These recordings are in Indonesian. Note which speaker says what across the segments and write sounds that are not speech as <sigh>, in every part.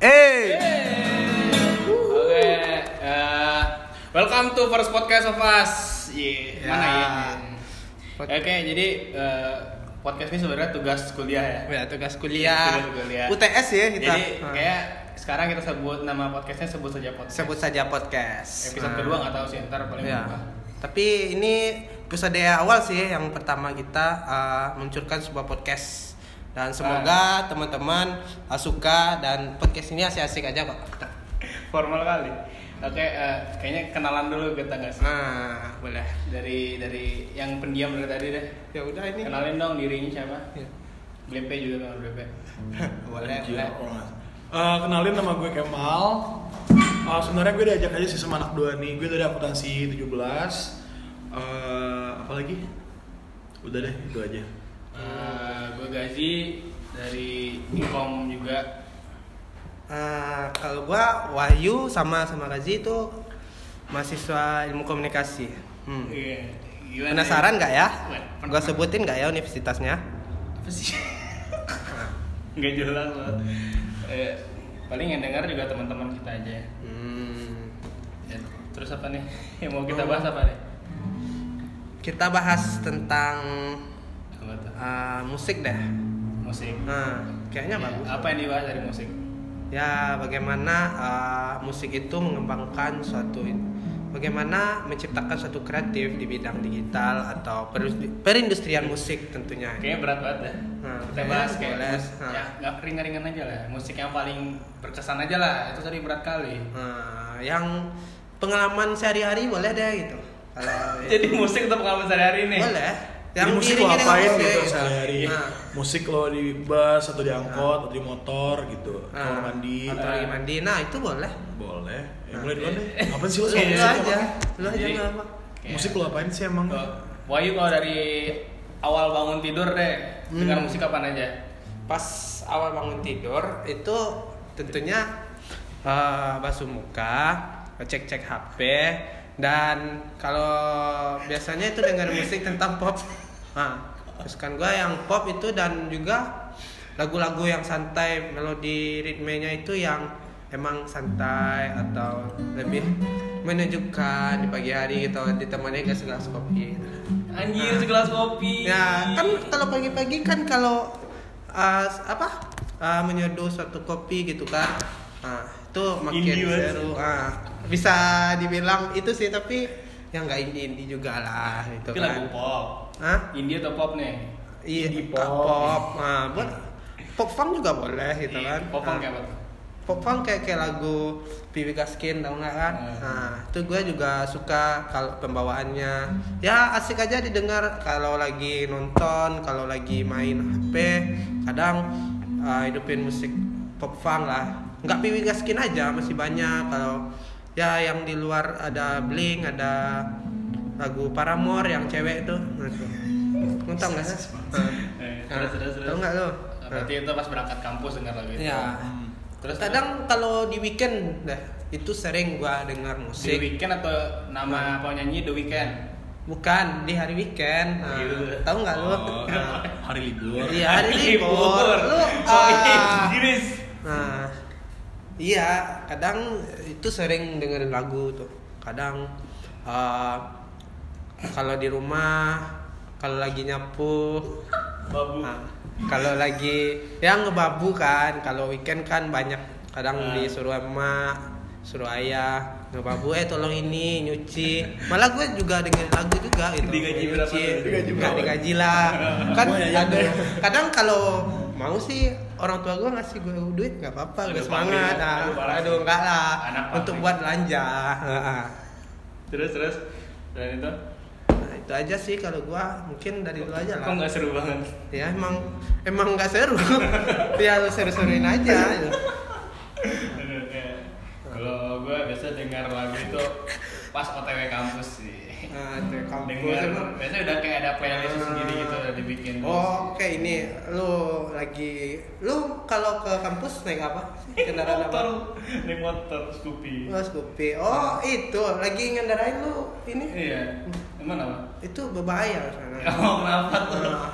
Speaker 1: eh, Welcome to first podcast of us. Ye,
Speaker 2: Ya.
Speaker 1: Mana ya?
Speaker 2: Pod-
Speaker 1: Oke, jadi eh, podcast ini sebenarnya tugas kuliah ya.
Speaker 2: Ya, tugas kuliah.
Speaker 1: Tugas kuliah.
Speaker 2: UTS ya kita.
Speaker 1: Iya. Jadi
Speaker 2: Nah,
Speaker 1: kayak sekarang kita sebut nama podcastnya sebut saja podcast.
Speaker 2: Hmm. sebut saja podcast.
Speaker 1: Episode
Speaker 2: Nah,
Speaker 1: kedua nggak tahu sih ntar paling
Speaker 2: ya.
Speaker 1: berubah.
Speaker 2: Tapi ini episode awal sih yang pertama kita eh, meluncurkan sebuah podcast dan semoga
Speaker 1: Ah.
Speaker 2: teman-teman eh, suka dan podcast ini asik-asik aja kok.
Speaker 1: Formal kali. Oke, eh, kayaknya kenalan dulu kita guys.
Speaker 2: Nah, boleh.
Speaker 1: Dari dari yang pendiam dari tadi deh.
Speaker 2: Ya udah ini.
Speaker 1: Kenalin dong dirinya siapa?
Speaker 2: Ya.
Speaker 1: Blepe juga kan Blepe.
Speaker 2: boleh,
Speaker 3: Gila,
Speaker 2: boleh.
Speaker 3: kalau nggak- Eh, kenalin nama gue Kemal. Eh, sebenarnya gue diajak aja sih sama anak dua nih. Gue dari akuntansi 17. Eh, apa lagi? Udah deh, itu aja.
Speaker 1: Eh, gue Gazi dari Inkom juga.
Speaker 2: Eh, kalau gua Wahyu sama sama Razi itu mahasiswa ilmu komunikasi. Hmm.
Speaker 1: Iya. Gimana
Speaker 2: Penasaran
Speaker 1: ya?
Speaker 2: nggak ya?
Speaker 1: Penasaran.
Speaker 2: Gua sebutin nggak ya universitasnya?
Speaker 1: apa sih <laughs> nggak jelas banget eh, paling yang dengar juga teman-teman kita aja ya.
Speaker 2: Hmm,
Speaker 1: Ya, terus apa nih <laughs> yang mau kita bahas apa nih
Speaker 2: Kita bahas tentang
Speaker 1: Apa tuh?
Speaker 2: uh, musik deh.
Speaker 1: musik
Speaker 2: Nah, kayaknya
Speaker 3: Iya.
Speaker 1: Ya,
Speaker 2: bagus.
Speaker 1: apa yang dibahas dari musik
Speaker 2: Ya, bagaimana uh, musik itu mengembangkan suatu bagaimana menciptakan suatu kreatif di bidang digital atau perus- perindustrian musik tentunya.
Speaker 1: kayaknya berat banget dah
Speaker 2: Nah,
Speaker 1: kita
Speaker 2: kayaknya
Speaker 1: bahas kayak
Speaker 2: boleh.
Speaker 1: mus-
Speaker 2: Nah.
Speaker 1: ya nggak ringan-ringan aja lah musik yang paling berkesan aja lah itu tadi berat kali
Speaker 2: Nah, yang pengalaman sehari-hari boleh deh gitu.
Speaker 3: <laughs>
Speaker 2: Kalau
Speaker 1: jadi musik untuk pengalaman sehari-hari nih
Speaker 2: boleh.
Speaker 3: Jadi musik lo
Speaker 2: diiringi dengan
Speaker 3: apain
Speaker 2: musik,
Speaker 3: gitu sehari-hari?
Speaker 2: Nah,
Speaker 3: Musik lo di bus atau di angkot atau di motor gitu. Kamar
Speaker 2: nah,
Speaker 3: mandi.
Speaker 2: atau lagi mandi. Nah, itu boleh.
Speaker 3: Boleh. Ya,
Speaker 2: Nah.
Speaker 3: mulai duluan deh. Ngapain
Speaker 2: <laughs>
Speaker 3: sih lo sama
Speaker 1: Iya,
Speaker 2: Lu
Speaker 3: musik?
Speaker 2: aja,
Speaker 3: emang?
Speaker 2: lu aja
Speaker 1: Jadi-
Speaker 2: nggak apa.
Speaker 1: Kayak-
Speaker 3: Musik lo apain sih emang?
Speaker 1: Tuh, Wahyu kalau dari awal bangun tidur deh
Speaker 2: Hmm.
Speaker 1: dengar musik kapan aja
Speaker 2: Pas awal bangun tidur itu tentunya eh, basuh muka, cek-cek HP dan kalau biasanya itu dengar musik tentang pop. <laughs> Nah, kesukaan gua yang pop itu dan juga lagu-lagu yang santai, melodi ritmenya itu yang emang santai atau lebih menunjukkan di pagi hari gitu ditemani dengan segelas kopi.
Speaker 1: Anjir
Speaker 2: Nah.
Speaker 1: segelas kopi.
Speaker 2: Ya kan kalau pagi-pagi kan kalau uh, apa uh, menyeduh suatu kopi gitu kan, nah, itu makin
Speaker 1: Indie banget
Speaker 2: seru. Ah, bisa dibilang itu sih tapi yang nggak indie indie juga lah gitu
Speaker 1: Itu lagu
Speaker 2: kan.
Speaker 1: pop.
Speaker 2: Hah?
Speaker 1: Indie atau pop nih?
Speaker 2: Iya.
Speaker 3: Indie
Speaker 2: pop.
Speaker 3: pop.
Speaker 2: pop. Nah, buat pop funk juga boleh gitu
Speaker 1: Iya,
Speaker 2: kan.
Speaker 1: Pop kan
Speaker 2: Ah,
Speaker 1: kayak apa? tuh?
Speaker 2: pop punk kayak kayak lagu Pipi Gaskin tau nggak kan?
Speaker 1: Hmm.
Speaker 2: Nah itu gue juga suka kalau pembawaannya ya asik aja didengar kalau lagi nonton, kalau lagi main HP, kadang uh, hidupin musik pop punk lah. Nggak Pipi Gaskin aja masih banyak kalau ya yang di luar ada Blink, ada lagu Paramore yang cewek itu. Nah, itu. Nonton nggak sih? Nah.
Speaker 1: Eh, terus terus terus.
Speaker 2: Ah.
Speaker 1: Ah,
Speaker 2: Tau nggak lo?
Speaker 1: Berarti itu pas berangkat kampus dengar lagu itu.
Speaker 2: Ya.
Speaker 3: Hmm.
Speaker 1: Gitu. Terus
Speaker 2: Kadang
Speaker 1: kadang
Speaker 2: kalau di weekend dah itu sering gua dengar
Speaker 1: The
Speaker 2: musik.
Speaker 1: Weeknd atau
Speaker 2: Nah.
Speaker 1: nama penyanyi The Weeknd.
Speaker 2: Bukan di hari weekend. Nah,
Speaker 1: Gitu.
Speaker 2: Tahu nggak lu?
Speaker 3: Oh,
Speaker 2: Nah,
Speaker 3: hari libur.
Speaker 2: Iya, hari libur. Lu
Speaker 1: Soalnya
Speaker 2: ah,
Speaker 1: Inggris.
Speaker 2: Nah, iya, kadang itu sering dengerin lagu tuh. Kadang eh, kalau di rumah, kalau lagi nyapu,
Speaker 1: Babu.
Speaker 2: Nah, kalau lagi yang ngebabu kan, kalau weekend kan banyak kadang
Speaker 1: Ah.
Speaker 2: disuruh emak, suruh ayah ngebabu eh tolong ini nyuci. Malah gue juga dengerin lagu juga gitu.
Speaker 1: Digaji berapa
Speaker 2: Nyuci.
Speaker 1: tuh? Digaji
Speaker 2: Nggak
Speaker 3: berapa?
Speaker 2: digaji
Speaker 1: <laughs>
Speaker 2: lah. kan
Speaker 3: Gua ya,
Speaker 2: ada
Speaker 3: ya.
Speaker 2: kadang kalau mau sih orang tua gue ngasih gue duit nggak apa-apa gue
Speaker 1: Aduh,
Speaker 2: semangat
Speaker 1: pabrik.
Speaker 2: ah.
Speaker 1: Aduh, parah
Speaker 2: aduh
Speaker 1: sih.
Speaker 2: enggak lah
Speaker 1: Anak
Speaker 2: untuk
Speaker 1: pabrik.
Speaker 2: buat belanja <laughs> Heeh.
Speaker 1: Terus terus. Selain itu,
Speaker 2: nah, itu aja sih kalau gua mungkin dari dulu aja
Speaker 1: kok
Speaker 2: lah
Speaker 1: nggak seru banget?
Speaker 2: ya emang emang nggak seru <laughs> ya lu seru-seruin aja ya.
Speaker 1: Aduh, kayak- Kalau gue biasa dengar lagu itu pas OTW kampus sih.
Speaker 2: nah, tuh, kampus emang.
Speaker 1: Dengar, biasanya udah kayak ada playlist sendiri gitu udah dibikin.
Speaker 2: oh oke ini lu lagi lu kalau ke kampus naik apa kendaraan apa
Speaker 1: Eh, motor naik motor Scoopy
Speaker 2: oh Scoopy oh itu lagi ngendarain lu ini
Speaker 1: iya emang apa
Speaker 2: itu berbahaya sana
Speaker 1: <laughs> oh kenapa tuh
Speaker 2: Nah,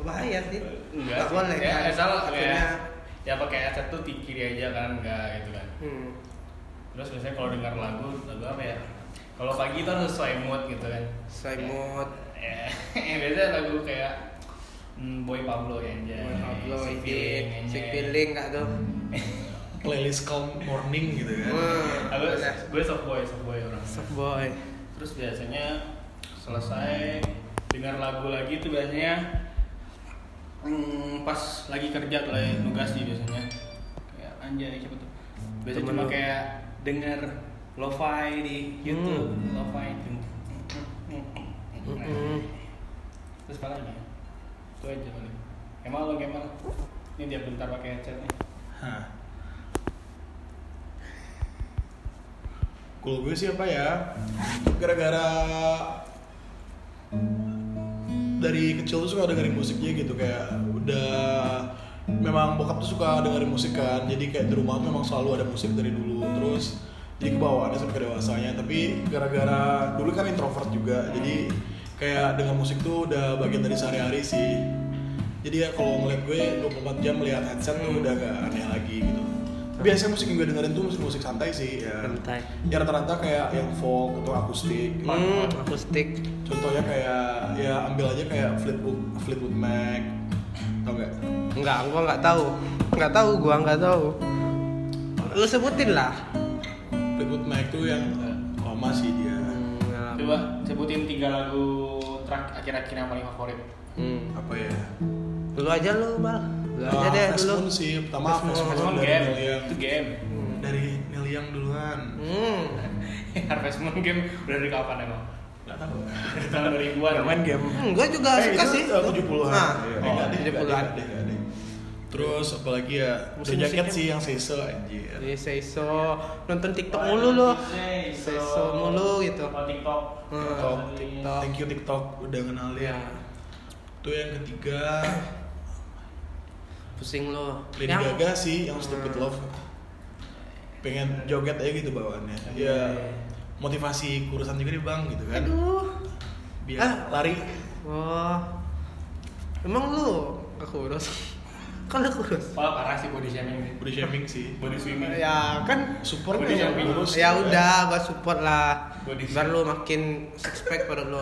Speaker 2: berbahaya sih
Speaker 1: enggak
Speaker 2: nggak
Speaker 1: sih.
Speaker 2: boleh
Speaker 1: ya,
Speaker 2: kan
Speaker 1: asal
Speaker 2: akhirnya
Speaker 1: kayak ya pakai headset tuh di kiri aja kan enggak gitu kan
Speaker 2: hmm.
Speaker 1: terus biasanya kalau dengar lagu lagu apa ya Kalau pagi itu harus sesuai mood gitu kan.
Speaker 2: Sesuai mood.
Speaker 1: Ya, <laughs> ya, biasanya lagu kayak hmm, Boy Pablo ya anjay.
Speaker 2: Boy Pablo, Ijin,
Speaker 1: Sick Feeling,
Speaker 2: Sick
Speaker 1: anjay.
Speaker 2: Feeling nggak tuh?
Speaker 3: Playlist calm morning gitu kan.
Speaker 1: Ah, gue-
Speaker 2: Nah,
Speaker 1: gue soft boy, soft boy orang.
Speaker 2: Soft boy.
Speaker 1: Terus biasanya selesai dengar lagu lagi itu biasanya hmm, pas lagi kerja tuh lah
Speaker 2: Hmm.
Speaker 1: ya, nugas sih biasanya. Kayak anjay siapa tuh. Biasanya
Speaker 2: Temen lu.
Speaker 1: cuma kayak denger lo-fi di YouTube,
Speaker 2: Hmm.
Speaker 1: lo-fi itu.
Speaker 2: Mm-mm.
Speaker 1: Terus apa lagi? ya? Itu aja paling. Kemal lo Kemal. Ini dia bentar pakai headset nih.
Speaker 3: Hah. Goal gue sih apa ya? Gara-gara dari kecil tuh suka dengerin musiknya gitu kayak udah memang bokap tuh suka dengerin musik kan jadi kayak di rumah tuh memang selalu ada musik dari dulu terus jadi kebawaannya sampai ke dewasanya tapi gara-gara dulu kan introvert juga jadi kayak dengar musik tuh udah bagian dari sehari-hari sih jadi ya kalau ngeliat gue 24 jam melihat headset tuh udah gak aneh lagi gitu biasanya musik yang gue dengerin tuh musik-musik santai sih ya,
Speaker 2: Santai.
Speaker 3: ya rata-rata kayak yang folk atau akustik gitu.
Speaker 2: Hmm, akustik.
Speaker 3: Contohnya kayak ya ambil aja kayak Fleetwood Fleetwood Mac, tau gak?
Speaker 2: Enggak, gua nggak tahu. Nggak tahu, gua nggak tahu. Lu sebutin lah.
Speaker 3: Fleetwood Mac tuh yang oh masih dia
Speaker 2: Hmm,
Speaker 1: Coba sebutin tiga lagu track akhir-akhir yang paling favorit.
Speaker 2: hmm.
Speaker 3: apa ya?
Speaker 2: Lu aja lu, Bal. Lu aja
Speaker 3: Ah,
Speaker 2: deh
Speaker 3: Fast <laughs>
Speaker 2: dulu.
Speaker 3: Moon sih pertama
Speaker 2: Fast
Speaker 3: Fast
Speaker 2: Moon.
Speaker 3: Moon
Speaker 1: Harvest Moon game, itu
Speaker 3: dari Neil Young
Speaker 1: game. <laughs>
Speaker 3: dari Neil Young duluan.
Speaker 2: Hmm.
Speaker 1: Harvest Moon game udah dari kapan emang?
Speaker 3: Gak tahu.
Speaker 1: Dari tahun 2000-an.
Speaker 3: game.
Speaker 2: Hmm, gua juga
Speaker 3: Eh,
Speaker 2: suka
Speaker 3: itu
Speaker 2: sih.
Speaker 3: tahun
Speaker 2: Nah,
Speaker 3: 70-an.
Speaker 2: oh,
Speaker 3: Iya. Eh, nggak deh, nggak deh,
Speaker 2: 70-an.
Speaker 3: nggak deh, nggak deh. Terus apalagi ya, The
Speaker 2: Musik-musiknya-
Speaker 3: Jacket sih yang Seiso anjir.
Speaker 2: Jadi Seiso Iya, nonton TikTok mulu lo. Seiso mulu gitu.
Speaker 1: Kalau Oh, TikTok. Iya.
Speaker 2: Hmm.
Speaker 3: TikTok,
Speaker 2: TikTok.
Speaker 3: Thank you TikTok udah kenalin.
Speaker 2: Ya,
Speaker 3: Itu yang ketiga
Speaker 2: pusing lo.
Speaker 3: Lady Gaga sih yang Hmm. Stupid Love pengen joget aja gitu bawaannya
Speaker 1: Iya.
Speaker 3: ya motivasi kurusan juga nih bang gitu kan
Speaker 2: Aduh.
Speaker 3: biar
Speaker 2: Ah.
Speaker 3: lari
Speaker 2: Wah. Emang lu gak kurus? <laughs> Kan lu kurus.
Speaker 1: Wah parah sih body shaming nih.
Speaker 3: body shaming sih
Speaker 1: Body swimming.
Speaker 2: Ya kan
Speaker 3: support
Speaker 1: Body
Speaker 3: yang
Speaker 1: shaming.
Speaker 3: kurus
Speaker 2: ya
Speaker 3: gitu kan.
Speaker 2: udah gua support lah.
Speaker 1: Body
Speaker 2: Biar lu makin six pack pada lu.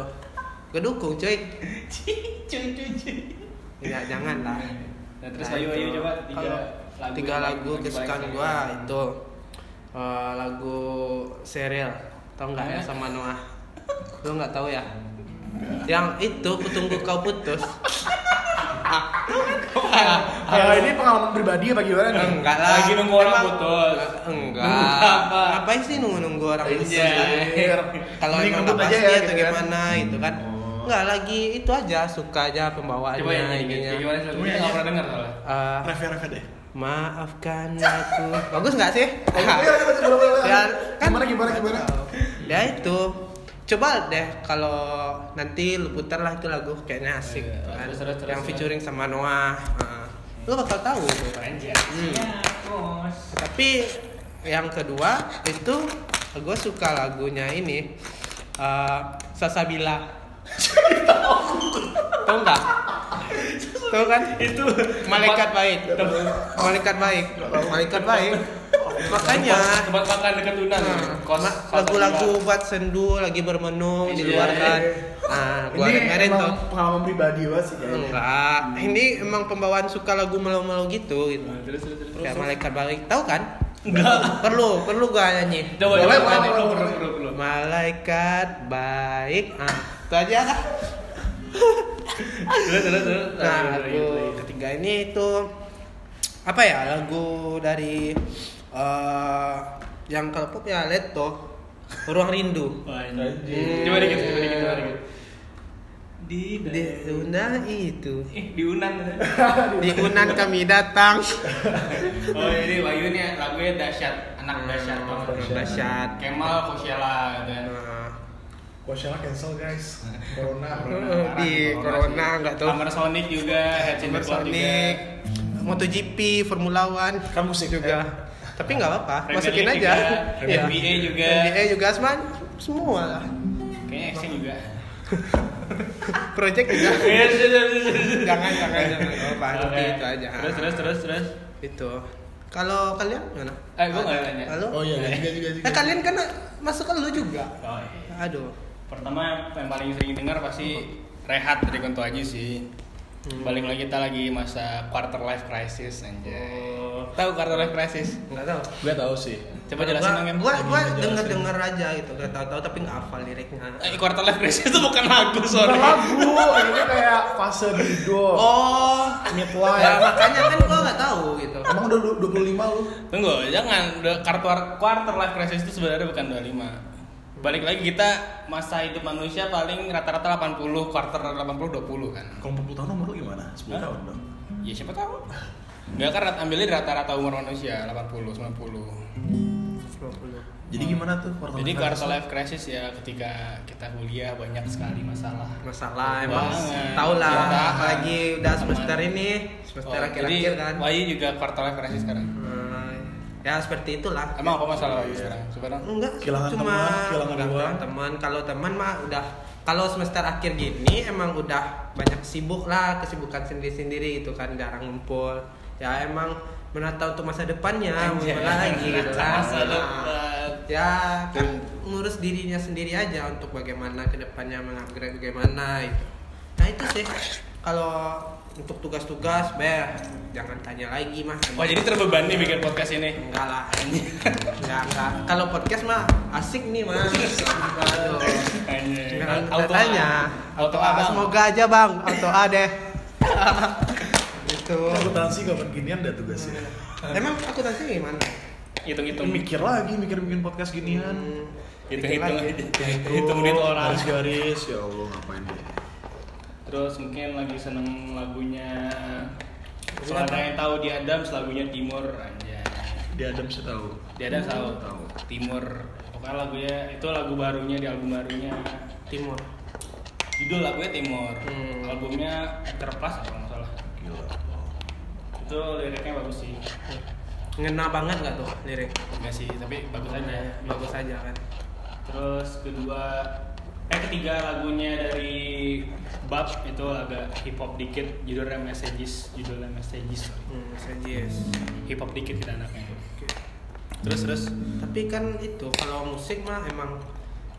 Speaker 2: Gua dukung cuy.
Speaker 1: <laughs> cuy cuy cuy.
Speaker 2: Ya jangan lah.
Speaker 1: Nah, terus
Speaker 2: Nah,
Speaker 1: ayo ayo
Speaker 2: itu.
Speaker 1: coba tiga
Speaker 2: Kalau
Speaker 1: lagu.
Speaker 2: tiga
Speaker 1: yang
Speaker 2: lagu
Speaker 1: paling-
Speaker 2: kesukaan
Speaker 1: paling-
Speaker 2: gua itu eh, lagu serial tau nggak ya
Speaker 1: Eh?
Speaker 2: sama Noah lu nggak tahu ya yang itu kutunggu kau putus Ah,
Speaker 3: ya ini pengalaman pribadi apa gimana nih
Speaker 2: enggak lah
Speaker 1: Lagi nunggu orang
Speaker 2: Emang-
Speaker 1: putus.
Speaker 2: enggak
Speaker 1: Nunggu apa?
Speaker 2: ngapain sih nunggu nunggu orang putus
Speaker 1: Anjay.
Speaker 2: anjir? kalau
Speaker 3: Mending
Speaker 2: emang
Speaker 3: ngebut
Speaker 2: nggak
Speaker 3: aja
Speaker 2: pasti
Speaker 3: ya,
Speaker 2: atau
Speaker 3: gitu kan.
Speaker 2: gimana gitu kan
Speaker 3: Oh.
Speaker 2: enggak lagi itu aja suka aja pembawaannya
Speaker 1: Coba yang ini
Speaker 2: ininya.
Speaker 1: kayak gimana sih?
Speaker 3: Gua
Speaker 1: Gue
Speaker 3: nyanyi.
Speaker 1: nggak pernah dengar soalnya.
Speaker 2: Eh,
Speaker 3: ref deh
Speaker 2: Maafkan aku. Bagus nggak sih?
Speaker 3: Ayo, ayo, boleh, boleh, boleh.
Speaker 2: ya, kan?
Speaker 3: iya, gimana gimana gimana
Speaker 2: Ya itu. Coba deh kalau nanti lu putar lah itu lagu kayaknya asik
Speaker 1: Iya,
Speaker 2: gitu kan.
Speaker 1: terus, terus, terus,
Speaker 2: Yang
Speaker 1: terus.
Speaker 2: featuring sama Noah. Heeh. Lu bakal tahu tuh kan.
Speaker 1: Anjir.
Speaker 2: Hmm.
Speaker 1: Ya, bos.
Speaker 2: Tapi yang kedua itu gue suka lagunya ini eh, Sasabila. Tahu nggak? Tahu kan?
Speaker 1: Itu
Speaker 2: Malaikat baik.
Speaker 1: tempat-
Speaker 2: Malaikat baik. Malaikat baik. Makanya
Speaker 1: tempat- tempat makan dekat Tunan.
Speaker 2: nah,
Speaker 1: Kos
Speaker 2: ma-
Speaker 1: kos-
Speaker 2: lagu-lagu buat sendu lagi bermenung di luar kan. Ah, gua dengerin tuh.
Speaker 3: pengalaman pribadi banget sih kayaknya.
Speaker 2: Enggak, ini emang pembawaan suka lagu melo-melo gitu gitu.
Speaker 1: Nah, Terus terus terus.
Speaker 2: Kayak malaikat baik, tahu kan?
Speaker 1: Enggak.
Speaker 2: Perlu, perlu gua nyanyi.
Speaker 1: Coba
Speaker 3: Boleh,
Speaker 1: coba
Speaker 3: boleh,
Speaker 1: nyanyi.
Speaker 3: boleh,
Speaker 1: Belum, belum,
Speaker 3: boleh.
Speaker 1: belum, belum.
Speaker 2: Malaikat baik. Ah, itu aja lah.
Speaker 1: Terus terus terus.
Speaker 2: Ah. Nah,
Speaker 1: Ayo,
Speaker 2: lagu
Speaker 1: ayo, ayo.
Speaker 2: ketiga ini itu apa ya? Lagu dari eh, yang kalau pop ya Leto, Ruang Rindu.
Speaker 1: Anjir. Coba dikit, coba dikit, coba dikit. Di
Speaker 2: Di Unan itu.
Speaker 1: eh, di <laughs> Unan.
Speaker 2: Di Unan kami datang.
Speaker 1: oh, jadi Bayu ini lagunya dahsyat, anak dahsyat banget.
Speaker 2: Nah, Hmm, Dahsyat.
Speaker 1: Kemal Koshela gitu kan.
Speaker 2: Nah,
Speaker 3: Coachella cancel guys corona
Speaker 2: Heeh, Oh, di Corona, nggak tahu.
Speaker 1: Hammer Sonic juga, Headset
Speaker 2: Super
Speaker 1: Network juga.
Speaker 2: Sonic, MotoGP, Formula One.
Speaker 3: Kan musik
Speaker 2: juga. Tapi nggak apa-apa,
Speaker 1: Premier
Speaker 2: masukin
Speaker 1: League
Speaker 2: aja.
Speaker 1: juga,
Speaker 2: Iya.
Speaker 1: NBA juga.
Speaker 2: NBA juga, Asman. Semua lah.
Speaker 1: Kayaknya action juga.
Speaker 2: Project
Speaker 1: <laughs>
Speaker 2: juga.
Speaker 1: Iya,
Speaker 2: jangan, jangan, jangan. Nggak apa-apa,
Speaker 1: Oke.
Speaker 2: nanti itu aja.
Speaker 1: Terus terus terus terus.
Speaker 2: Itu. Kalau kalian gimana?
Speaker 1: Eh, gua nggak nanya.
Speaker 2: Halo?
Speaker 3: Oh iya, juga juga juga.
Speaker 2: Eh, kalian kan masuk ke lu juga.
Speaker 1: Oh, iya.
Speaker 2: Aduh.
Speaker 1: Pertama yang paling sering dengar pasti rehat dari Kunto Aji sih.
Speaker 2: Hmm.
Speaker 1: Balik lagi kita lagi masa quarter life crisis anjay. Tahu quarter life crisis?
Speaker 2: Enggak tahu.
Speaker 3: Gue tahu sih.
Speaker 1: Coba jelasin dong, Em.
Speaker 2: Oh. Gua gua
Speaker 3: Jelasin.
Speaker 2: denger-denger aja gitu, gak tahu-tahu tapi enggak hafal liriknya.
Speaker 1: Eh, quarter life crisis itu bukan lagu, sorry.
Speaker 3: Bukan lagu, ini kayak fase hidup,
Speaker 2: Oh. Nah,
Speaker 3: midlife.
Speaker 2: makanya kan gua enggak tahu gitu.
Speaker 3: Emang udah du- 25 lu?
Speaker 1: Tunggu, jangan. Udah Quarter, quarter life crisis itu sebenarnya bukan 25. Balik lagi kita masa hidup manusia paling rata-rata 80, quarter 80 20 kan.
Speaker 3: Kalau 40 tahun umur lu gimana? 10
Speaker 1: Hah?
Speaker 3: tahun dong.
Speaker 1: Ya siapa tahu. Enggak kan rat- ambilnya rata-rata umur manusia 80, 90.
Speaker 2: 90.
Speaker 3: Jadi gimana tuh quarter
Speaker 1: Hmm. Jadi
Speaker 3: life
Speaker 1: quarter
Speaker 3: crisis?
Speaker 1: life crisis ya ketika kita kuliah banyak sekali masalah.
Speaker 2: masalah emang
Speaker 1: Banget.
Speaker 2: tau lah
Speaker 1: Cintaan,
Speaker 2: apalagi udah
Speaker 1: teman.
Speaker 2: semester ini semester
Speaker 1: Oh,
Speaker 2: akhir-akhir kan
Speaker 1: Jadi Wahyu juga quarter life crisis sekarang.
Speaker 2: Hmm, ya seperti itulah
Speaker 1: Emang apa masalah Wahyu sekarang? Sekarang
Speaker 2: enggak
Speaker 3: Kehilangan
Speaker 2: cuma
Speaker 3: teman, kehilangan
Speaker 2: enggak
Speaker 3: uang.
Speaker 2: teman kalau teman mah udah kalau semester akhir gini emang udah banyak sibuk lah kesibukan sendiri-sendiri gitu kan jarang ngumpul ya emang menata untuk masa depannya
Speaker 1: Anjay.
Speaker 2: ngumpul Nah, lagi gitu kan
Speaker 1: Masa
Speaker 2: Nah,
Speaker 1: depan.
Speaker 2: ya kan ngurus dirinya sendiri aja untuk bagaimana kedepannya mengupgrade bagaimana itu nah itu sih kalau untuk tugas-tugas beh jangan tanya lagi mah
Speaker 1: Wah jadi terbebani bikin podcast ini.
Speaker 2: Enggak lah anjing. <laughs> Enggak, enggak. Kalau podcast mah asik nih, Mas. Aduh.
Speaker 1: Anjay.
Speaker 2: Jangan
Speaker 1: Auto A.
Speaker 2: tanya.
Speaker 1: Auto A,
Speaker 2: Ah,
Speaker 1: Bang.
Speaker 2: Semoga aja, Bang. Auto A <laughs> deh. gitu.
Speaker 3: Akuntansi kapan ginian dah tugasnya.
Speaker 2: Emang aku tanya gimana?
Speaker 1: Hitung-hitung
Speaker 3: Mikir lagi, mikir bikin podcast ginian.
Speaker 2: Hmm,
Speaker 1: hitung-hitung
Speaker 2: dikit
Speaker 1: aja.
Speaker 2: lagi.
Speaker 1: <laughs> Hitung menit orang.
Speaker 3: Garis-garis, ya Allah ngapain deh.
Speaker 1: Terus mungkin lagi seneng lagunya
Speaker 2: Lagu
Speaker 1: Soalnya
Speaker 2: apa?
Speaker 1: yang tahu di Adams lagunya Timur anjay.
Speaker 3: Di Adam sih tahu.
Speaker 1: Di Adams tahu
Speaker 3: Tahu.
Speaker 1: Timur. Pokoknya lagunya itu lagu barunya di album barunya.
Speaker 2: Timur.
Speaker 1: Judul lagunya Timur.
Speaker 2: Hmm.
Speaker 1: Albumnya Terpas apa nggak salah.
Speaker 3: Gila.
Speaker 1: Itu liriknya bagus sih.
Speaker 2: Ngena banget nggak tuh lirik?
Speaker 1: Enggak sih, tapi bagus aja.
Speaker 2: Bagus aja kan.
Speaker 1: Iya. Terus kedua eh ketiga lagunya dari Bab itu agak hip hop dikit judulnya Messages judulnya Messages sorry.
Speaker 2: Hmm, suggest.
Speaker 1: hip hop dikit kita anaknya
Speaker 2: Oke.
Speaker 1: terus terus <laughs>
Speaker 2: tapi kan itu kalau musik mah emang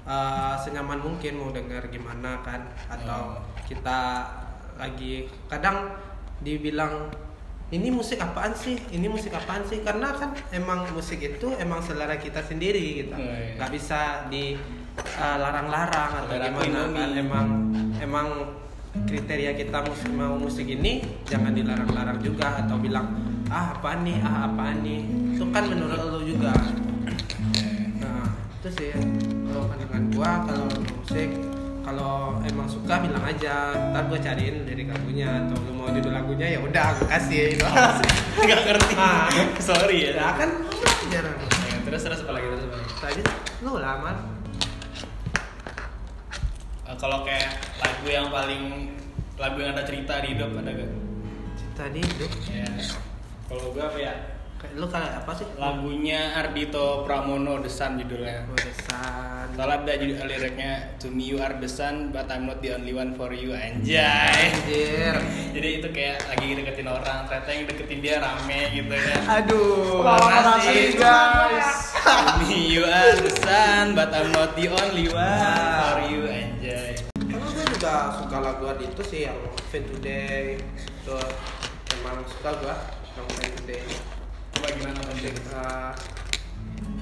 Speaker 2: uh, senyaman mungkin mau dengar gimana kan atau kita lagi kadang dibilang ini musik apaan sih ini musik apaan sih karena kan emang musik itu emang selera kita sendiri gitu
Speaker 1: Oh, iya.
Speaker 2: nggak bisa di uh, larang-larang atau
Speaker 1: Selera aku
Speaker 2: gimana kan
Speaker 1: Indomie.
Speaker 2: emang emang kriteria kita mus mau musik ini jangan dilarang-larang juga atau bilang ah apaan nih ah apaan nih itu kan menurut lo juga Nah, itu sih kalau pandangan gua kalau musik kalau emang suka bilang aja ntar gua cariin dari lagunya atau lu mau judul lagunya ya udah aku kasih gitu.
Speaker 1: nggak ngerti
Speaker 2: Ah. ya
Speaker 1: sorry ya
Speaker 2: kan jarang
Speaker 1: Ya, terus terus apa lagi terus apa lagi
Speaker 2: tadi lu lama
Speaker 1: Eh, kalau kayak lagu yang paling lagu yang ada cerita di hidup ada gak
Speaker 2: tadi hidup
Speaker 1: ya kalau gue apa ya
Speaker 2: kayak lu kayak apa sih
Speaker 1: lagunya Ardito Pramono The Sun judulnya
Speaker 2: Bodesan.
Speaker 1: Soalnya ada judul liriknya To me you are the sun but I'm not the only one for you Anjay
Speaker 2: Anjir.
Speaker 1: Jadi itu kayak lagi deketin orang Ternyata yang deketin dia rame gitu ya
Speaker 2: Aduh.
Speaker 1: makasih,
Speaker 3: guys.
Speaker 1: To me you are the sun but I'm not the only one for you Anjay
Speaker 2: Kalau gue juga suka lagu itu sih yang Fit Today. Itu emang suka gua yang Fit Today.
Speaker 1: Coba gimana Bang?
Speaker 2: Uh,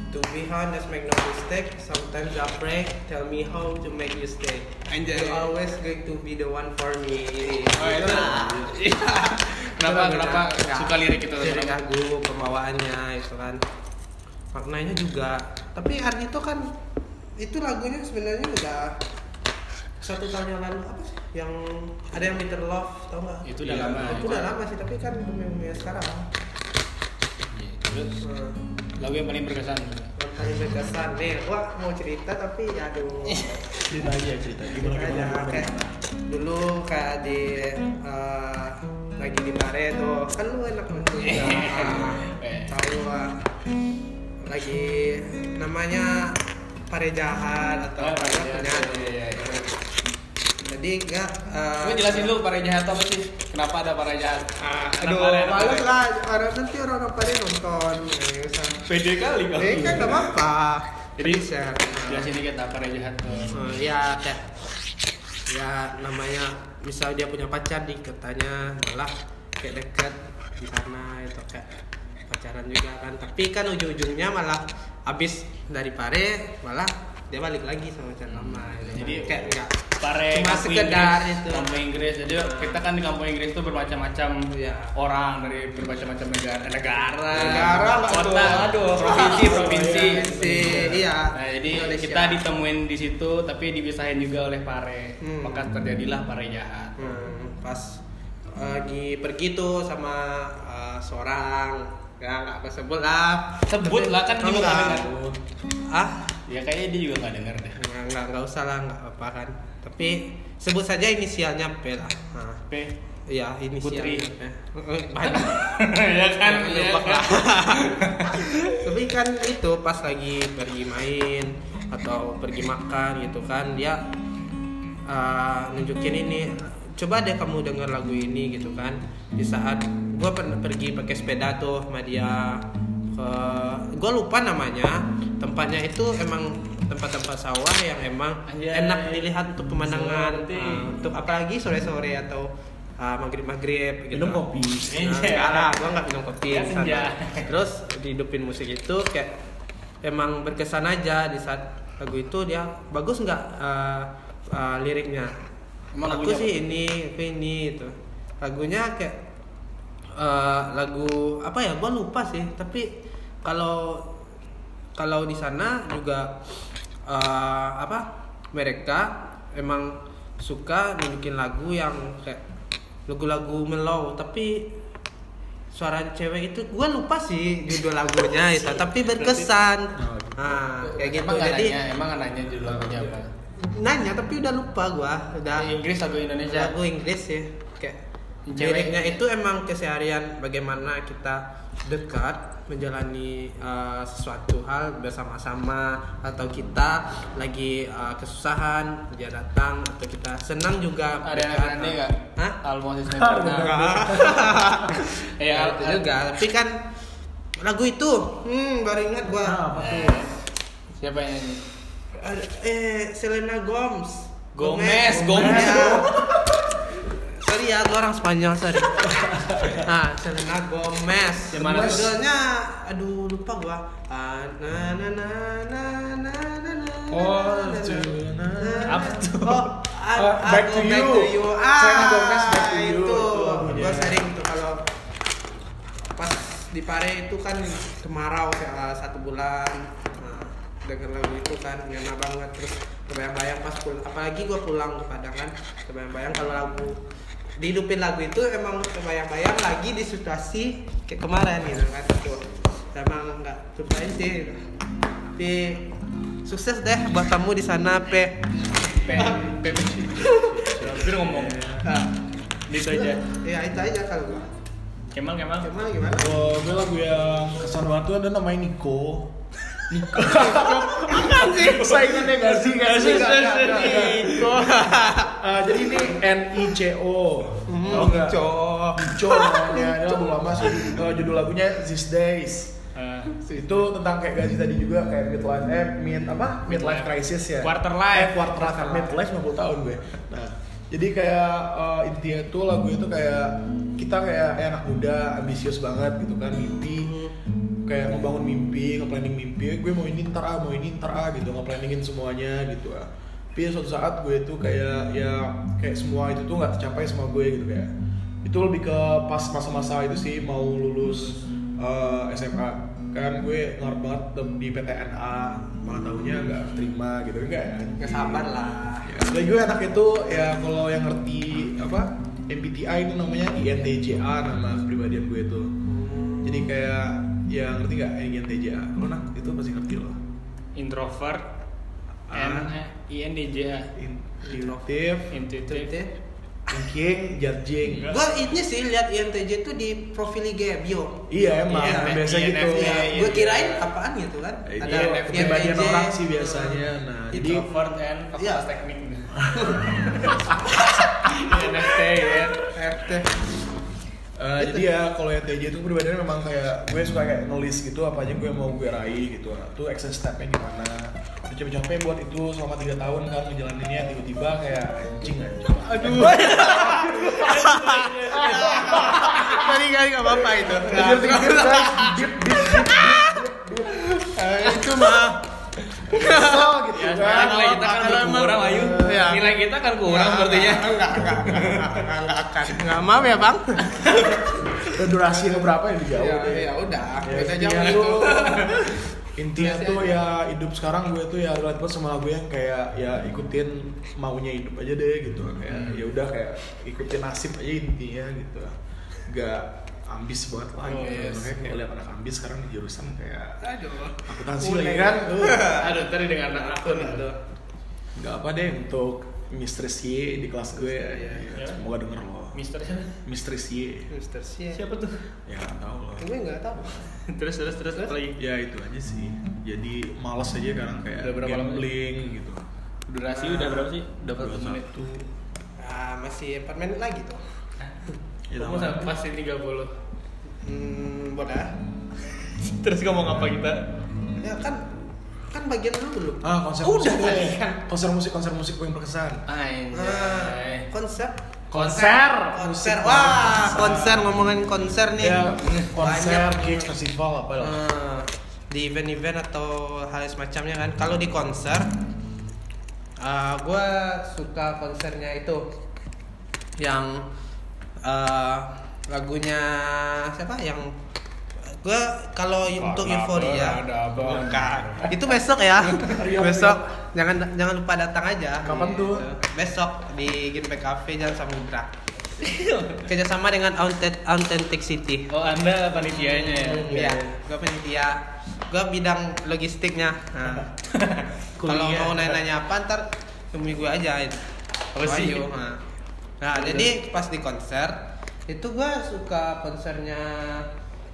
Speaker 2: to be honest, make no mistake. Sometimes I pray, tell me how to make you stay.
Speaker 1: Anjay.
Speaker 2: You're always going to be the one for me. Gitu.
Speaker 1: Oh itu Iya. Kenapa, kenapa suka lirik itu?
Speaker 2: Lirik
Speaker 1: Kenapa?
Speaker 2: lagu, Iya, pembawaannya itu kan. Maknanya juga. Tapi Ardi itu kan itu lagunya sebenarnya udah satu tahun yang lalu apa sih yang ada yang bitter love tau nggak
Speaker 1: Itu udah
Speaker 2: Iya,
Speaker 1: lama, ya.
Speaker 2: itu
Speaker 1: itu.
Speaker 2: udah lama sih tapi kan bumi-bumi sekarang
Speaker 1: Terus
Speaker 2: Hmm.
Speaker 1: lagu yang paling berkesan
Speaker 2: Yang paling berkesan nih, wah mau cerita tapi aduh
Speaker 1: <laughs>
Speaker 3: Cerita aja cerita. Gimana
Speaker 2: Cerita aja,
Speaker 3: gimana,
Speaker 2: kayak
Speaker 3: gimana.
Speaker 2: dulu kayak di eh, lagi di bare tuh kan lu enak banget juga
Speaker 1: Eh.
Speaker 2: tahu ah. lagi namanya pare jahat atau
Speaker 1: Oh,
Speaker 2: apa
Speaker 1: Pare
Speaker 2: namanya
Speaker 1: Jahat,
Speaker 2: tuh.
Speaker 1: iya, iya, iya.
Speaker 2: jadi enggak eh,
Speaker 1: Gue jelasin ah, dulu para jahat apa sih? Kenapa ada para jahat?
Speaker 2: aduh malu lah orang nanti orang-orang pada nonton ya, usah.
Speaker 1: Pede kali kalau.
Speaker 2: Eh, kan nggak apa-apa
Speaker 1: Oh, iya. Jadi, ya,
Speaker 2: share
Speaker 1: Jelasin dikit lah para jahat tuh.
Speaker 2: Eh, ya teh ya namanya misal dia punya pacar nih katanya malah kayak dekat di sana itu kayak pacaran juga kan tapi kan ujung-ujungnya malah abis dari pare malah dia balik lagi sama pacar lama gitu.
Speaker 1: Jadi,
Speaker 2: kayak enggak
Speaker 1: Pare
Speaker 2: Cuma
Speaker 1: kampung
Speaker 2: sekedar
Speaker 1: Inggris,
Speaker 2: itu.
Speaker 1: Kampung Inggris. Jadi kita kan di kampung Inggris tuh bermacam-macam
Speaker 2: Iya.
Speaker 1: orang dari bermacam-macam negara, negara,
Speaker 2: Negara, Pak,
Speaker 1: kota,
Speaker 2: aduh. Aduh.
Speaker 1: provinsi, provinsi.
Speaker 2: Provinsi, iya.
Speaker 1: Nah, jadi
Speaker 2: Indonesia.
Speaker 1: kita ditemuin di situ tapi dipisahin juga oleh pare.
Speaker 2: Hmm.
Speaker 1: Maka terjadilah pare jahat.
Speaker 2: Hmm, pas lagi pergi tuh sama eh, seorang ya nggak aku sebut lah
Speaker 1: Sebut lah kan juga
Speaker 2: Enggak.
Speaker 1: nggak dengar.
Speaker 2: ah
Speaker 1: Ya kayaknya dia juga nggak denger deh.
Speaker 2: nggak nggak nggak usah lah nggak apa kan tapi sebut saja inisialnya P lah nah,
Speaker 1: P.
Speaker 2: iya
Speaker 1: Putri.
Speaker 2: inisialnya P. Eh, banyak
Speaker 1: <laughs> ya kan,
Speaker 2: Iya,
Speaker 1: ya
Speaker 3: iya,
Speaker 2: Lupa
Speaker 1: kan.
Speaker 2: lah. <laughs> tapi kan itu pas lagi pergi main atau pergi makan gitu kan dia eh, nunjukin ini coba deh kamu denger lagu ini gitu kan di saat gue pernah pergi pakai sepeda tuh sama dia ke gue lupa namanya tempatnya itu emang tempat-tempat sawah yang emang
Speaker 1: Anjay.
Speaker 3: Iya,
Speaker 2: enak dilihat untuk pemandangan
Speaker 1: Sore.
Speaker 2: Eh, untuk apalagi sore-sore atau eh, maghrib-maghrib gitu
Speaker 3: Minum kopi. Iya.
Speaker 2: Nah, enggak lah, gua nggak minum kopi
Speaker 1: Ya,
Speaker 2: di sana.
Speaker 1: senja.
Speaker 2: Terus dihidupin musik itu kayak emang berkesan aja di saat lagu itu dia bagus nggak eh, eh, liriknya.
Speaker 1: Emang
Speaker 2: aku
Speaker 1: lagunya
Speaker 2: sih ini, aku ini itu. Lagunya kayak eh, lagu apa ya? Gua lupa sih. Tapi kalau kalau di sana juga eh, apa? Mereka emang suka bikin lagu yang kayak lagu-lagu mellow tapi suara cewek itu gue lupa sih judul lagunya itu tapi berkesan nah kayak gitu
Speaker 1: Oh, Emang nggak
Speaker 2: jadi Iya.
Speaker 1: nanya, emang nggak nanya judul lagunya apa?
Speaker 2: nanya tapi udah lupa gue udah
Speaker 1: Di Inggris lagu Indonesia.
Speaker 2: lagu Inggris ya kayak
Speaker 1: Cewek.
Speaker 2: liriknya itu emang keseharian bagaimana kita dekat menjalani uh, sesuatu hal bersama-sama atau kita lagi uh, kesusahan dia datang atau kita senang juga
Speaker 1: Ariana
Speaker 2: mereka-
Speaker 1: Grande nggak? Nah,
Speaker 2: Hah?
Speaker 1: Almost is
Speaker 2: Enggak.
Speaker 1: Ya,
Speaker 2: Ya, itu juga. Tapi kan lagu itu, hmm, baru ingat gua.
Speaker 3: Nah, apa tuh?
Speaker 1: Siapa yang nyanyi?
Speaker 2: Ada- Eh, Selena Gomez.
Speaker 1: Gomez, Gomez.
Speaker 2: Ya. <laughs> sorry ya, gua orang Spanyol,
Speaker 1: <laughs>
Speaker 2: sorry. Nah, Selena Gomez.
Speaker 1: Yang mana tuh?
Speaker 2: Judulnya, aduh lupa gua. Ah, na na na na na na na.
Speaker 3: Oh,
Speaker 2: na, na,
Speaker 3: Selena.
Speaker 2: na, na.
Speaker 1: Apa tuh? Uh,
Speaker 2: Oh, I,
Speaker 3: Oh, Back
Speaker 2: I
Speaker 3: to
Speaker 2: go back
Speaker 3: You.
Speaker 2: to you. Ah,
Speaker 3: Selena Gomez, Back to You.
Speaker 2: Itu, gitu ya.
Speaker 3: Itu lagunya.
Speaker 2: gua sering tuh kalau pas di Pare itu kan kemarau ya, satu bulan nah, denger lagu itu kan ngena banget terus kebayang-bayang pas pulang apalagi gue pulang ke Padang kan kebayang-bayang kalau lagu dihidupin lagu itu emang kebayang-bayang lagi di situasi kayak kemarin gitu kan itu emang nggak lupain sih gitu. tapi sukses deh buat kamu di sana pe
Speaker 1: Pe, Pe, Pe. Hampir ngomong.
Speaker 2: nah,
Speaker 1: Gitu aja.
Speaker 2: ya itu aja kalau gua
Speaker 1: Kemal, Kemal.
Speaker 2: gimana gimana
Speaker 3: Oh, gue lagu yang kesan banget tuh ada namanya Niko.
Speaker 2: Apaan sih
Speaker 3: Saingannya gak sih? Gak sih?
Speaker 1: Gak, gak, gak, gak.
Speaker 3: Niko. Ah, Jadi ini N I C O. Tau nggak?
Speaker 2: cok
Speaker 3: Nico namanya. Ini lagu lama sih. Eh, Judul lagunya These Days.
Speaker 1: Eh,
Speaker 3: itu tentang kayak gaji tadi juga kayak midlife eh mid apa midlife
Speaker 1: Midlife.
Speaker 3: crisis ya
Speaker 1: Quarter life.
Speaker 3: eh, quarter life midlife 50 tahun gue nah jadi kayak eh, intinya tuh lagu itu kayak kita kayak eh, anak muda ambisius banget gitu kan mimpi kayak ngebangun mimpi nge-planning mimpi eh, gue mau ini ntar ah mau ini ntar ah gitu nge-planningin semuanya gitu ah tapi suatu saat gue tuh kayak ya kayak semua itu tuh nggak tercapai sama gue gitu kayak itu lebih ke pas masa-masa itu sih mau lulus eh, SMA kan gue ngarep banget tem- di PTNA malah tahunya nggak terima gitu enggak ya
Speaker 2: Gak sabar lah.
Speaker 3: Ya, Bagi gue anak itu ya kalau yang ngerti apa MBTI itu namanya INTJA nama kepribadian gue itu jadi kayak ya ngerti nggak INTJA lo nak itu pasti ngerti lo
Speaker 1: introvert.
Speaker 3: Ah.
Speaker 1: N, I N D J A.
Speaker 3: intuitive
Speaker 1: Intuitive.
Speaker 3: Thinking, judging.
Speaker 1: Enggak.
Speaker 2: Gua ini sih lihat INTJ tuh di profil IG bio. Ya,
Speaker 3: Iya emang,
Speaker 1: Iya,
Speaker 3: biasa
Speaker 1: iya,
Speaker 3: gitu.
Speaker 1: iya, iya.
Speaker 2: Gua kirain apaan gitu kan.
Speaker 3: Iya, kepribadian orang sih biasanya. Nah,
Speaker 2: Itu.
Speaker 3: jadi
Speaker 1: Introvert and fakultas
Speaker 2: Iya.
Speaker 1: teknik. <laughs>
Speaker 2: NFT ya, NFT.
Speaker 3: Eh, jadi ya kalau ETJ itu kepribadiannya memang kayak gue suka kayak nulis gitu apa aja gue mau gue raih gitu. Nah, itu action stepnya gimana? Udah capek-capek buat itu selama 3 tahun kan ngejalaninnya tiba-tiba kayak anjing anjing. Aduh.
Speaker 1: <laughs>
Speaker 2: Tadi kan kali Eh, nggak apa-apa itu.
Speaker 3: Pikir pikir guys, deep deep deep
Speaker 2: Ah, Itu mah.
Speaker 3: kesel gitu
Speaker 1: Ya,
Speaker 3: kan.
Speaker 1: sekarang nilai kita kan
Speaker 2: Kalau emang-
Speaker 1: berkurang Ayu.
Speaker 2: Iya.
Speaker 1: Nilai kita kan kurang sepertinya.
Speaker 2: Enggak, enggak, enggak, enggak, enggak akan. Enggak mau ya, Bang?
Speaker 3: Dan Eh, durasi yang berapa yang dijauh
Speaker 2: Ya,
Speaker 3: deh.
Speaker 2: ya udah,
Speaker 3: Ya,
Speaker 2: kita
Speaker 3: intinya
Speaker 2: jangan itu.
Speaker 3: tuh <laughs> intinya tuh ya hidup sekarang gue tuh ya relate banget sama lagu yang kayak ya ikutin maunya hidup aja deh gitu kayak ya udah kayak ikutin nasib aja intinya gitu gak ambis banget lah
Speaker 1: Oh,
Speaker 3: gitu
Speaker 1: yes.
Speaker 3: makanya kalau lihat anak ambis sekarang di jurusan kayak
Speaker 2: Aduh.
Speaker 3: akuntansi
Speaker 1: Unik.
Speaker 3: lagi kan Eh,
Speaker 1: Aduh, tadi dengan anak akun itu.
Speaker 3: nggak apa deh untuk Mistress Y di kelas gue ya,
Speaker 1: Ya.
Speaker 3: semoga denger lo
Speaker 1: Mister siapa?
Speaker 3: Mistress Y
Speaker 2: Mister C.
Speaker 1: Siapa tuh?
Speaker 3: ya nggak tahu lo
Speaker 2: Gue enggak tahu.
Speaker 1: terus terus terus apa lagi?
Speaker 3: ya itu aja sih jadi males aja sekarang
Speaker 1: Udah
Speaker 3: kayak
Speaker 1: berapa lama?
Speaker 3: gambling gitu
Speaker 1: Durasi udah berapa sih? Udah berapa Ah. menit?
Speaker 3: 21
Speaker 2: Ah, masih 4 menit lagi tuh.
Speaker 3: ya,
Speaker 1: Kamu
Speaker 3: sama.
Speaker 1: sampai pasti 30
Speaker 2: Hmm, boleh.
Speaker 1: Terus ngomong apa kita?
Speaker 2: Ya kan kan bagian dulu belum.
Speaker 3: ah Iya. konser
Speaker 2: Udah
Speaker 3: musik
Speaker 2: tadi
Speaker 3: deh.
Speaker 2: kan.
Speaker 3: konser musik konser musik paling berkesan
Speaker 2: Ah,
Speaker 1: Anjay
Speaker 2: konsep
Speaker 1: Konser!
Speaker 2: konser wah konser ngomongin konser nih
Speaker 3: ya konser
Speaker 2: Banyak.
Speaker 3: gigs festival apa ya? lah
Speaker 2: Eh, di event-event atau hal semacamnya kan kalau di konser eh, gue suka konsernya itu yang eh, lagunya siapa yang gue kalau untuk euforia Bukan. itu besok
Speaker 3: <laughs>
Speaker 2: ya besok jangan jangan lupa datang aja
Speaker 3: Iya, Kapan tuh?
Speaker 2: besok di Ginpe Cafe Jalan Samudra kerjasama dengan Authentic- Authentic City
Speaker 1: Oh anda panitianya ya?
Speaker 2: Iya, gue penitia. Gue bidang logistiknya. Nah. Kalau
Speaker 3: Kuliah.
Speaker 2: mau nanya-nanya apa ntar temui gue aja.
Speaker 1: Apa sih?
Speaker 2: Wahyu, Nah, Nah, jadi pas di konser itu gue suka konsernya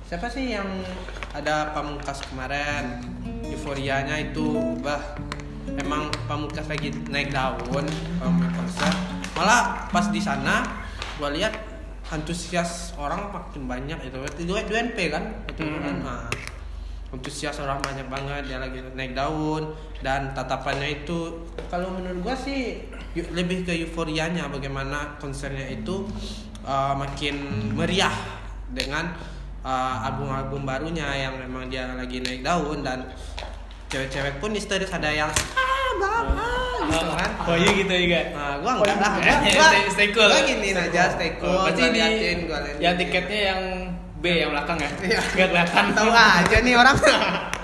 Speaker 2: siapa sih yang ada pamungkas kemarin euforianya itu bah emang pamungkas lagi naik daun pamungkas konser malah pas di sana gue lihat antusias orang makin banyak itu itu juga 2NP kan itu kan
Speaker 1: Hmm.
Speaker 2: nah, antusias orang banyak banget dia lagi naik daun dan tatapannya itu kalau menurut gua sih eu- lebih ke euforianya bagaimana konsernya itu uh, makin meriah dengan uh, album-album barunya yang memang dia lagi naik daun dan cewek-cewek pun histeris ada yang ah bang ah," gitu kan
Speaker 1: Oh iya gitu juga?
Speaker 2: Nah, gua enggak lah,
Speaker 1: Oh,
Speaker 2: gua,
Speaker 1: iya,
Speaker 2: gua,
Speaker 1: stay- <laughs> stay cool.
Speaker 2: gua giniin aja, stay cool,
Speaker 1: Oh, berarti
Speaker 2: gua
Speaker 1: ini
Speaker 2: liatin, gua liatin.
Speaker 1: yang tiketnya yang B yang belakang ya?
Speaker 2: Iya.
Speaker 1: Gak kelihatan
Speaker 2: tahu aja nih orang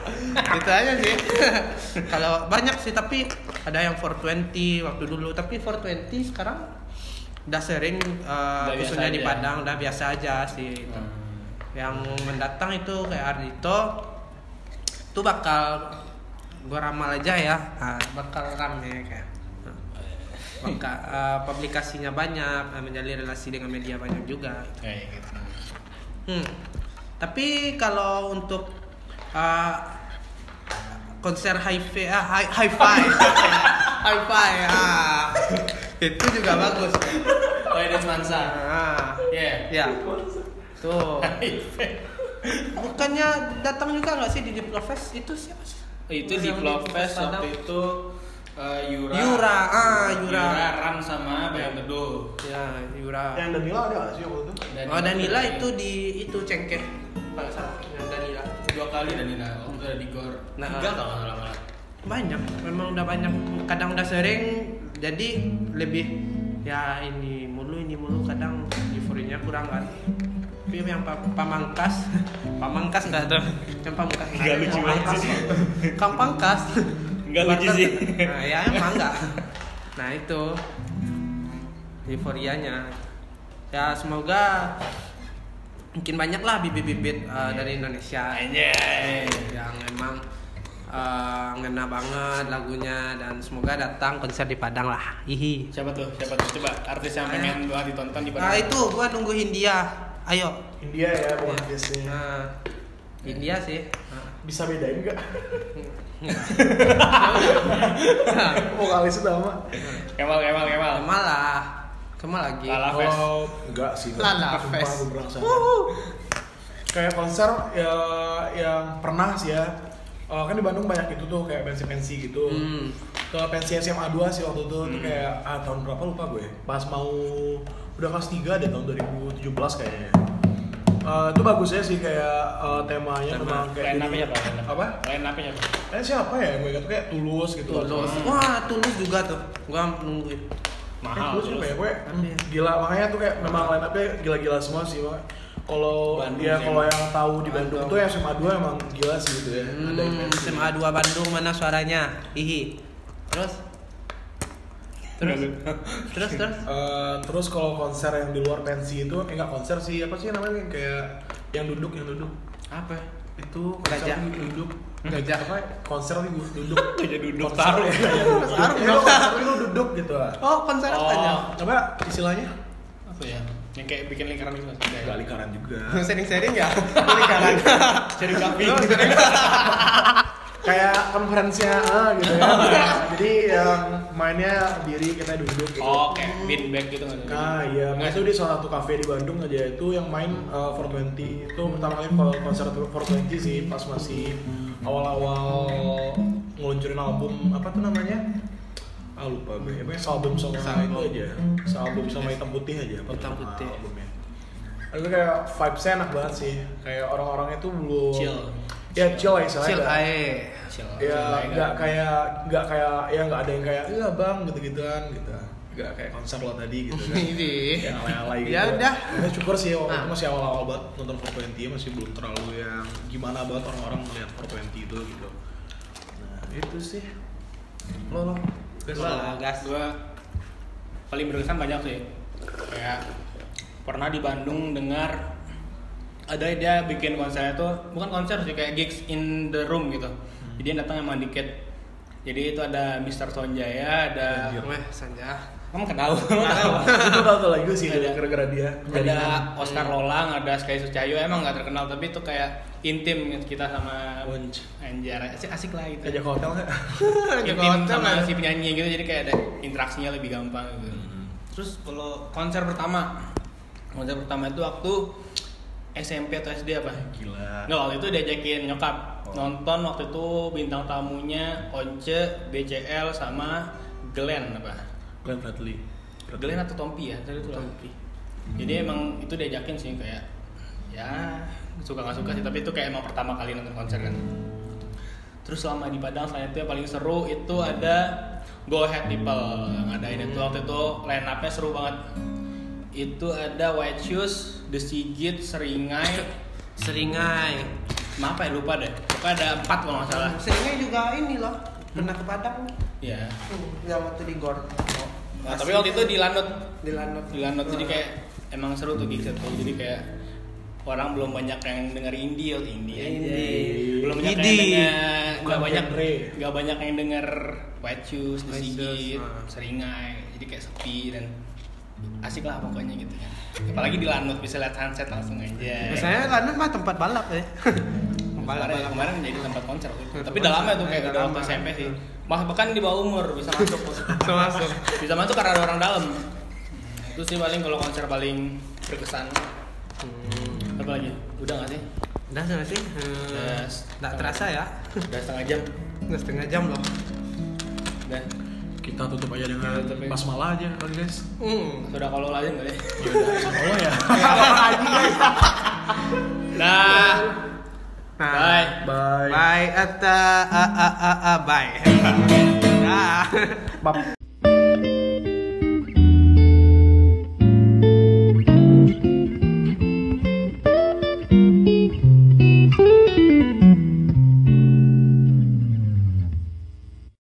Speaker 2: <laughs> itu aja sih <laughs> kalau banyak sih tapi ada yang 420 waktu dulu tapi 420 sekarang udah sering uh,
Speaker 1: Udah biasa
Speaker 2: khususnya di
Speaker 1: aja. Hmm.
Speaker 2: Padang udah biasa aja sih
Speaker 1: Gitu.
Speaker 2: itu. yang mendatang itu kayak Ardito itu bakal gue ramal aja ya Nah, bakal rame kayak Nah,
Speaker 1: Oh, iya.
Speaker 2: bakal uh, publikasinya banyak uh, menjalin relasi dengan media banyak juga
Speaker 1: Kayak gitu
Speaker 2: Hmm. Tapi kalau untuk uh, konser high fi ah, high, high
Speaker 1: <laughs>
Speaker 2: five, high five, ah. itu juga bagus.
Speaker 1: Oh iya, Dance Mansa
Speaker 2: Ah,
Speaker 1: Iya <laughs>
Speaker 2: ya. Tuh. Bukannya datang juga nggak sih di Diplofest itu siapa sih?
Speaker 1: Itu di
Speaker 2: Yang
Speaker 1: Vlogfest
Speaker 2: Padang.
Speaker 1: waktu itu eh, Yura
Speaker 2: Yura, ah, Yura.
Speaker 1: Ram sama Bayang Teduh
Speaker 2: Ya, Yura.
Speaker 3: yang Danila ada nggak sih waktu itu
Speaker 2: Oh, Danila itu di itu cengkeh. Kalau salah, yang Danila.
Speaker 1: dua kali Danila waktu itu ada di Gor
Speaker 2: Nah.
Speaker 1: Tiga kalau nggak salah malah.
Speaker 2: banyak memang udah banyak kadang udah sering jadi lebih ya ini mulu ini mulu kadang euforinya kurang kan tapi yang pa- pamangkas <laughs> pamangkas nggak ada yang pamangkas nggak
Speaker 1: Nggak
Speaker 2: ada,
Speaker 1: lucu banget
Speaker 2: pamangkas.
Speaker 1: sih.
Speaker 2: <laughs> kang pangkas
Speaker 1: Nggak lucu sih.
Speaker 2: <laughs> nah, ya emang nggak nah itu euforianya ya semoga eh, mungkin banyak lah bibit-bibit uh, dari Indonesia
Speaker 1: Iya. Anjay
Speaker 2: yang memang eh, ngena banget lagunya dan semoga datang konser di Padang lah. Hihi.
Speaker 1: Siapa tuh? Siapa tuh? Coba artis yang pengen banget ditonton di
Speaker 2: Nah
Speaker 1: Padang.
Speaker 2: Ah. itu gua nungguin dia. Ayo.
Speaker 3: India ya bukan biasanya
Speaker 2: Nah, India <laughs> sih. Nah.
Speaker 3: bisa bedain nggak <laughs> vokalis utama
Speaker 1: Kemal, Kemal, Kemal.
Speaker 2: Kemal lah. Kemal lagi.
Speaker 1: Lala Fest.
Speaker 3: oh enggak sih
Speaker 2: Lala
Speaker 3: Sumpah,
Speaker 2: Fest.
Speaker 3: gue berangsa.
Speaker 2: Wuhu.
Speaker 3: kayak konser ya yang pernah sih ya Eh, kan di Bandung banyak itu tuh kayak pensi-pensi gitu
Speaker 2: Hmm.
Speaker 3: ke pensi SMA 2 sih waktu itu tuh kayak ah, tahun berapa lupa gue pas mau udah kelas 3 deh tahun 2017 kayaknya Eh, itu bagusnya sih kayak eh, temanya
Speaker 2: Tema.
Speaker 3: tentang kayak
Speaker 1: Lain
Speaker 3: jadi-
Speaker 1: apa ya, Pak? Line up.
Speaker 3: apa
Speaker 1: Line up-nya, Pak.
Speaker 3: eh siapa ya gue ingat tuh kayak tulus gitu
Speaker 2: Tulus.
Speaker 1: Hmm.
Speaker 2: Wah, tulus juga tuh. Gua nungguin.
Speaker 1: Mahal.
Speaker 3: Eh, tulus juga ya, gue
Speaker 2: Tapi-
Speaker 3: gila makanya tuh kayak memang line up-nya gila-gila semua sih mak. Kalau
Speaker 1: Bandung
Speaker 3: ya
Speaker 1: sih
Speaker 3: kalau
Speaker 1: emang.
Speaker 3: yang tahu di Bandung
Speaker 2: Bandung.
Speaker 3: tuh yang SMA 2 emang gila sih gitu ya. Ada
Speaker 2: Hmm,
Speaker 3: event.
Speaker 2: SMA 2 Bandung mana suaranya? Hihi. Terus? Terus? terus terus?
Speaker 3: Eh, terus kalau konser yang di luar pensi itu eh, enggak konser sih apa sih namanya kayak yang duduk yang duduk
Speaker 2: Apa?
Speaker 3: itu konser
Speaker 2: Gajah.
Speaker 3: yang duduk
Speaker 2: Hmm?
Speaker 3: gajah apa konser yang duduk
Speaker 1: Gajah duduk.
Speaker 3: Konser
Speaker 1: Taruh.
Speaker 3: ya, gajah duduk.
Speaker 2: Taruh.
Speaker 3: Ya, konser itu duduk gitu lah
Speaker 2: Oh, konser
Speaker 1: Oh.
Speaker 2: apanya?
Speaker 3: apa istilahnya
Speaker 1: Apa ya? Yang kayak bikin lingkaran gitu. itu. Mas.
Speaker 3: enggak lingkaran juga
Speaker 2: Sering-sering ya? Ini kanan.
Speaker 1: Jadi kambing.
Speaker 2: <laughs>
Speaker 3: kayak konferensinya ah, gitu ya jadi yang mainnya diri kita duduk gitu
Speaker 1: Oh, kayak beanbag gitu nggak sih?
Speaker 3: Nah, iya. Nah,
Speaker 1: Nggak
Speaker 3: itu di salah satu cafe di Bandung aja itu yang main uh, 420 itu pertama kali ko- konser 420 sih pas masih awal-awal ngeluncurin album apa tuh namanya? Ah lupa gue. Apa ya, album sama itu aja. Album sama hitam putih aja. apa tuh
Speaker 2: Hitam
Speaker 3: nama
Speaker 2: putih.
Speaker 3: Albumnya. Itu kayak vibes-nya enak banget sih. Kayak orang-orangnya tuh belum
Speaker 1: Chill.
Speaker 3: Ya chill lah istilahnya.
Speaker 2: Chill
Speaker 3: Nggak-
Speaker 2: ae.
Speaker 1: Chill.
Speaker 3: Ya
Speaker 1: Lain
Speaker 3: nggak
Speaker 1: kan.
Speaker 3: kayak nggak kayak ya nggak ada yang kayak iya bang gitu-gituan gitu. Nggak kayak konser lo tadi gitu kan
Speaker 2: Ini.
Speaker 3: yang alay-alay gitu.
Speaker 2: Ya udah.
Speaker 3: Ya syukur sih waktu itu
Speaker 2: Nah.
Speaker 3: masih awal-awal banget nonton 420 masih belum terlalu yang gimana banget orang-orang melihat 420 itu gitu. Nah, itu sih. Lo lo. Guys,
Speaker 2: Gua lah, gas.
Speaker 1: Gua paling berkesan banyak sih. Kayak pernah di Bandung dengar ada dia bikin konser itu bukan konser sih kayak gigs in the room gitu.
Speaker 3: Hmm.
Speaker 1: Jadi yang datang emang dikit. Jadi itu ada Mr. Sonjaya, ada
Speaker 3: Anjir.
Speaker 2: Weh, Sanja.
Speaker 1: kamu kenal, kamu tahu.
Speaker 3: Itu tau tau lagi sih
Speaker 1: Ada.
Speaker 3: gara-gara dia.
Speaker 1: <laughs>
Speaker 3: Iya.
Speaker 1: ada Oscar Lolang, ada Sky Sucahyo emang nggak terkenal tapi itu kayak intim kita sama
Speaker 3: Wunj.
Speaker 1: Anjar asik, asik lah gitu.
Speaker 3: Ajak ke hotel nggak?
Speaker 1: intim sama si penyanyi gitu jadi kayak ada interaksinya lebih gampang gitu
Speaker 3: Hmm,
Speaker 1: terus kalau konser pertama konser pertama itu waktu SMP atau SD apa
Speaker 3: Gila.
Speaker 1: nggak waktu itu diajakin nyokap
Speaker 3: Oh.
Speaker 1: nonton waktu itu bintang tamunya Once BCL sama Glenn apa
Speaker 3: Glenn Fredly.
Speaker 1: Glenn atau Tompi ya tadi itu Tompi jadi emang itu diajakin sih kayak ya suka nggak suka sih tapi itu kayak emang pertama kali nonton konser kan terus selama di Padang selain itu yang paling seru itu ada Go Ahead People yang ngadain itu waktu itu line up-nya seru banget itu ada White Shoes, The Sigit, Seringai,
Speaker 2: Seringai.
Speaker 1: maaf ya lupa deh, pokoknya ada empat kalau nggak salah.
Speaker 2: Seringai juga ini loh. Pernah ke Padang.
Speaker 1: Ya.
Speaker 2: Hmm, Yang waktu di Gor.
Speaker 1: Nah, tapi waktu itu di Lanut,
Speaker 2: di Lanut.
Speaker 1: di Lanut jadi kayak emang seru tuh gigs itu jadi kayak orang belum banyak yang denger indie oh, indie
Speaker 2: Iya,
Speaker 1: aja.
Speaker 2: Indie.
Speaker 1: iya. belum banyak
Speaker 2: Indie.
Speaker 1: yang denger nggak
Speaker 3: Bukan
Speaker 1: banyak
Speaker 3: genre.
Speaker 1: nggak banyak yang denger White Shoes, The
Speaker 2: White Shoes,
Speaker 1: Sigit,
Speaker 2: ah.
Speaker 1: Seringai jadi kayak sepi dan asik lah pokoknya gitu kan apalagi di Lanut bisa lihat sunset langsung aja
Speaker 2: Biasanya Nah, Lanut mah tempat balap
Speaker 1: <laughs>
Speaker 2: ya.
Speaker 1: Kemarin, kemarin jadi tempat konser tapi
Speaker 2: Konser.
Speaker 1: udah lama tuh kayak
Speaker 2: Udah
Speaker 1: udah waktu
Speaker 2: lama.
Speaker 1: SMP sih Mas bahkan di bawah umur bisa masuk
Speaker 2: Langsung masuk.
Speaker 1: bisa masuk karena ada orang dalam itu sih paling kalau konser paling berkesan apa lagi udah nggak sih
Speaker 2: Hmm. Udah sana sih.
Speaker 1: Udah.
Speaker 2: Hmm, Nggak terasa ya.
Speaker 1: udah setengah jam
Speaker 2: Udah setengah jam loh.
Speaker 1: udah
Speaker 3: Kita tutup aja dengan
Speaker 1: Kita tutup ya.
Speaker 3: pas malah aja kali guys.
Speaker 2: Hmm.
Speaker 1: sudah kalau aja nggak deh
Speaker 3: Kalau ya.
Speaker 2: Nah,
Speaker 1: dah bye
Speaker 2: Ah, <laughs>
Speaker 3: Bye.
Speaker 2: bye. <laughs> Ata a a a a bye. Dah.
Speaker 3: Bye.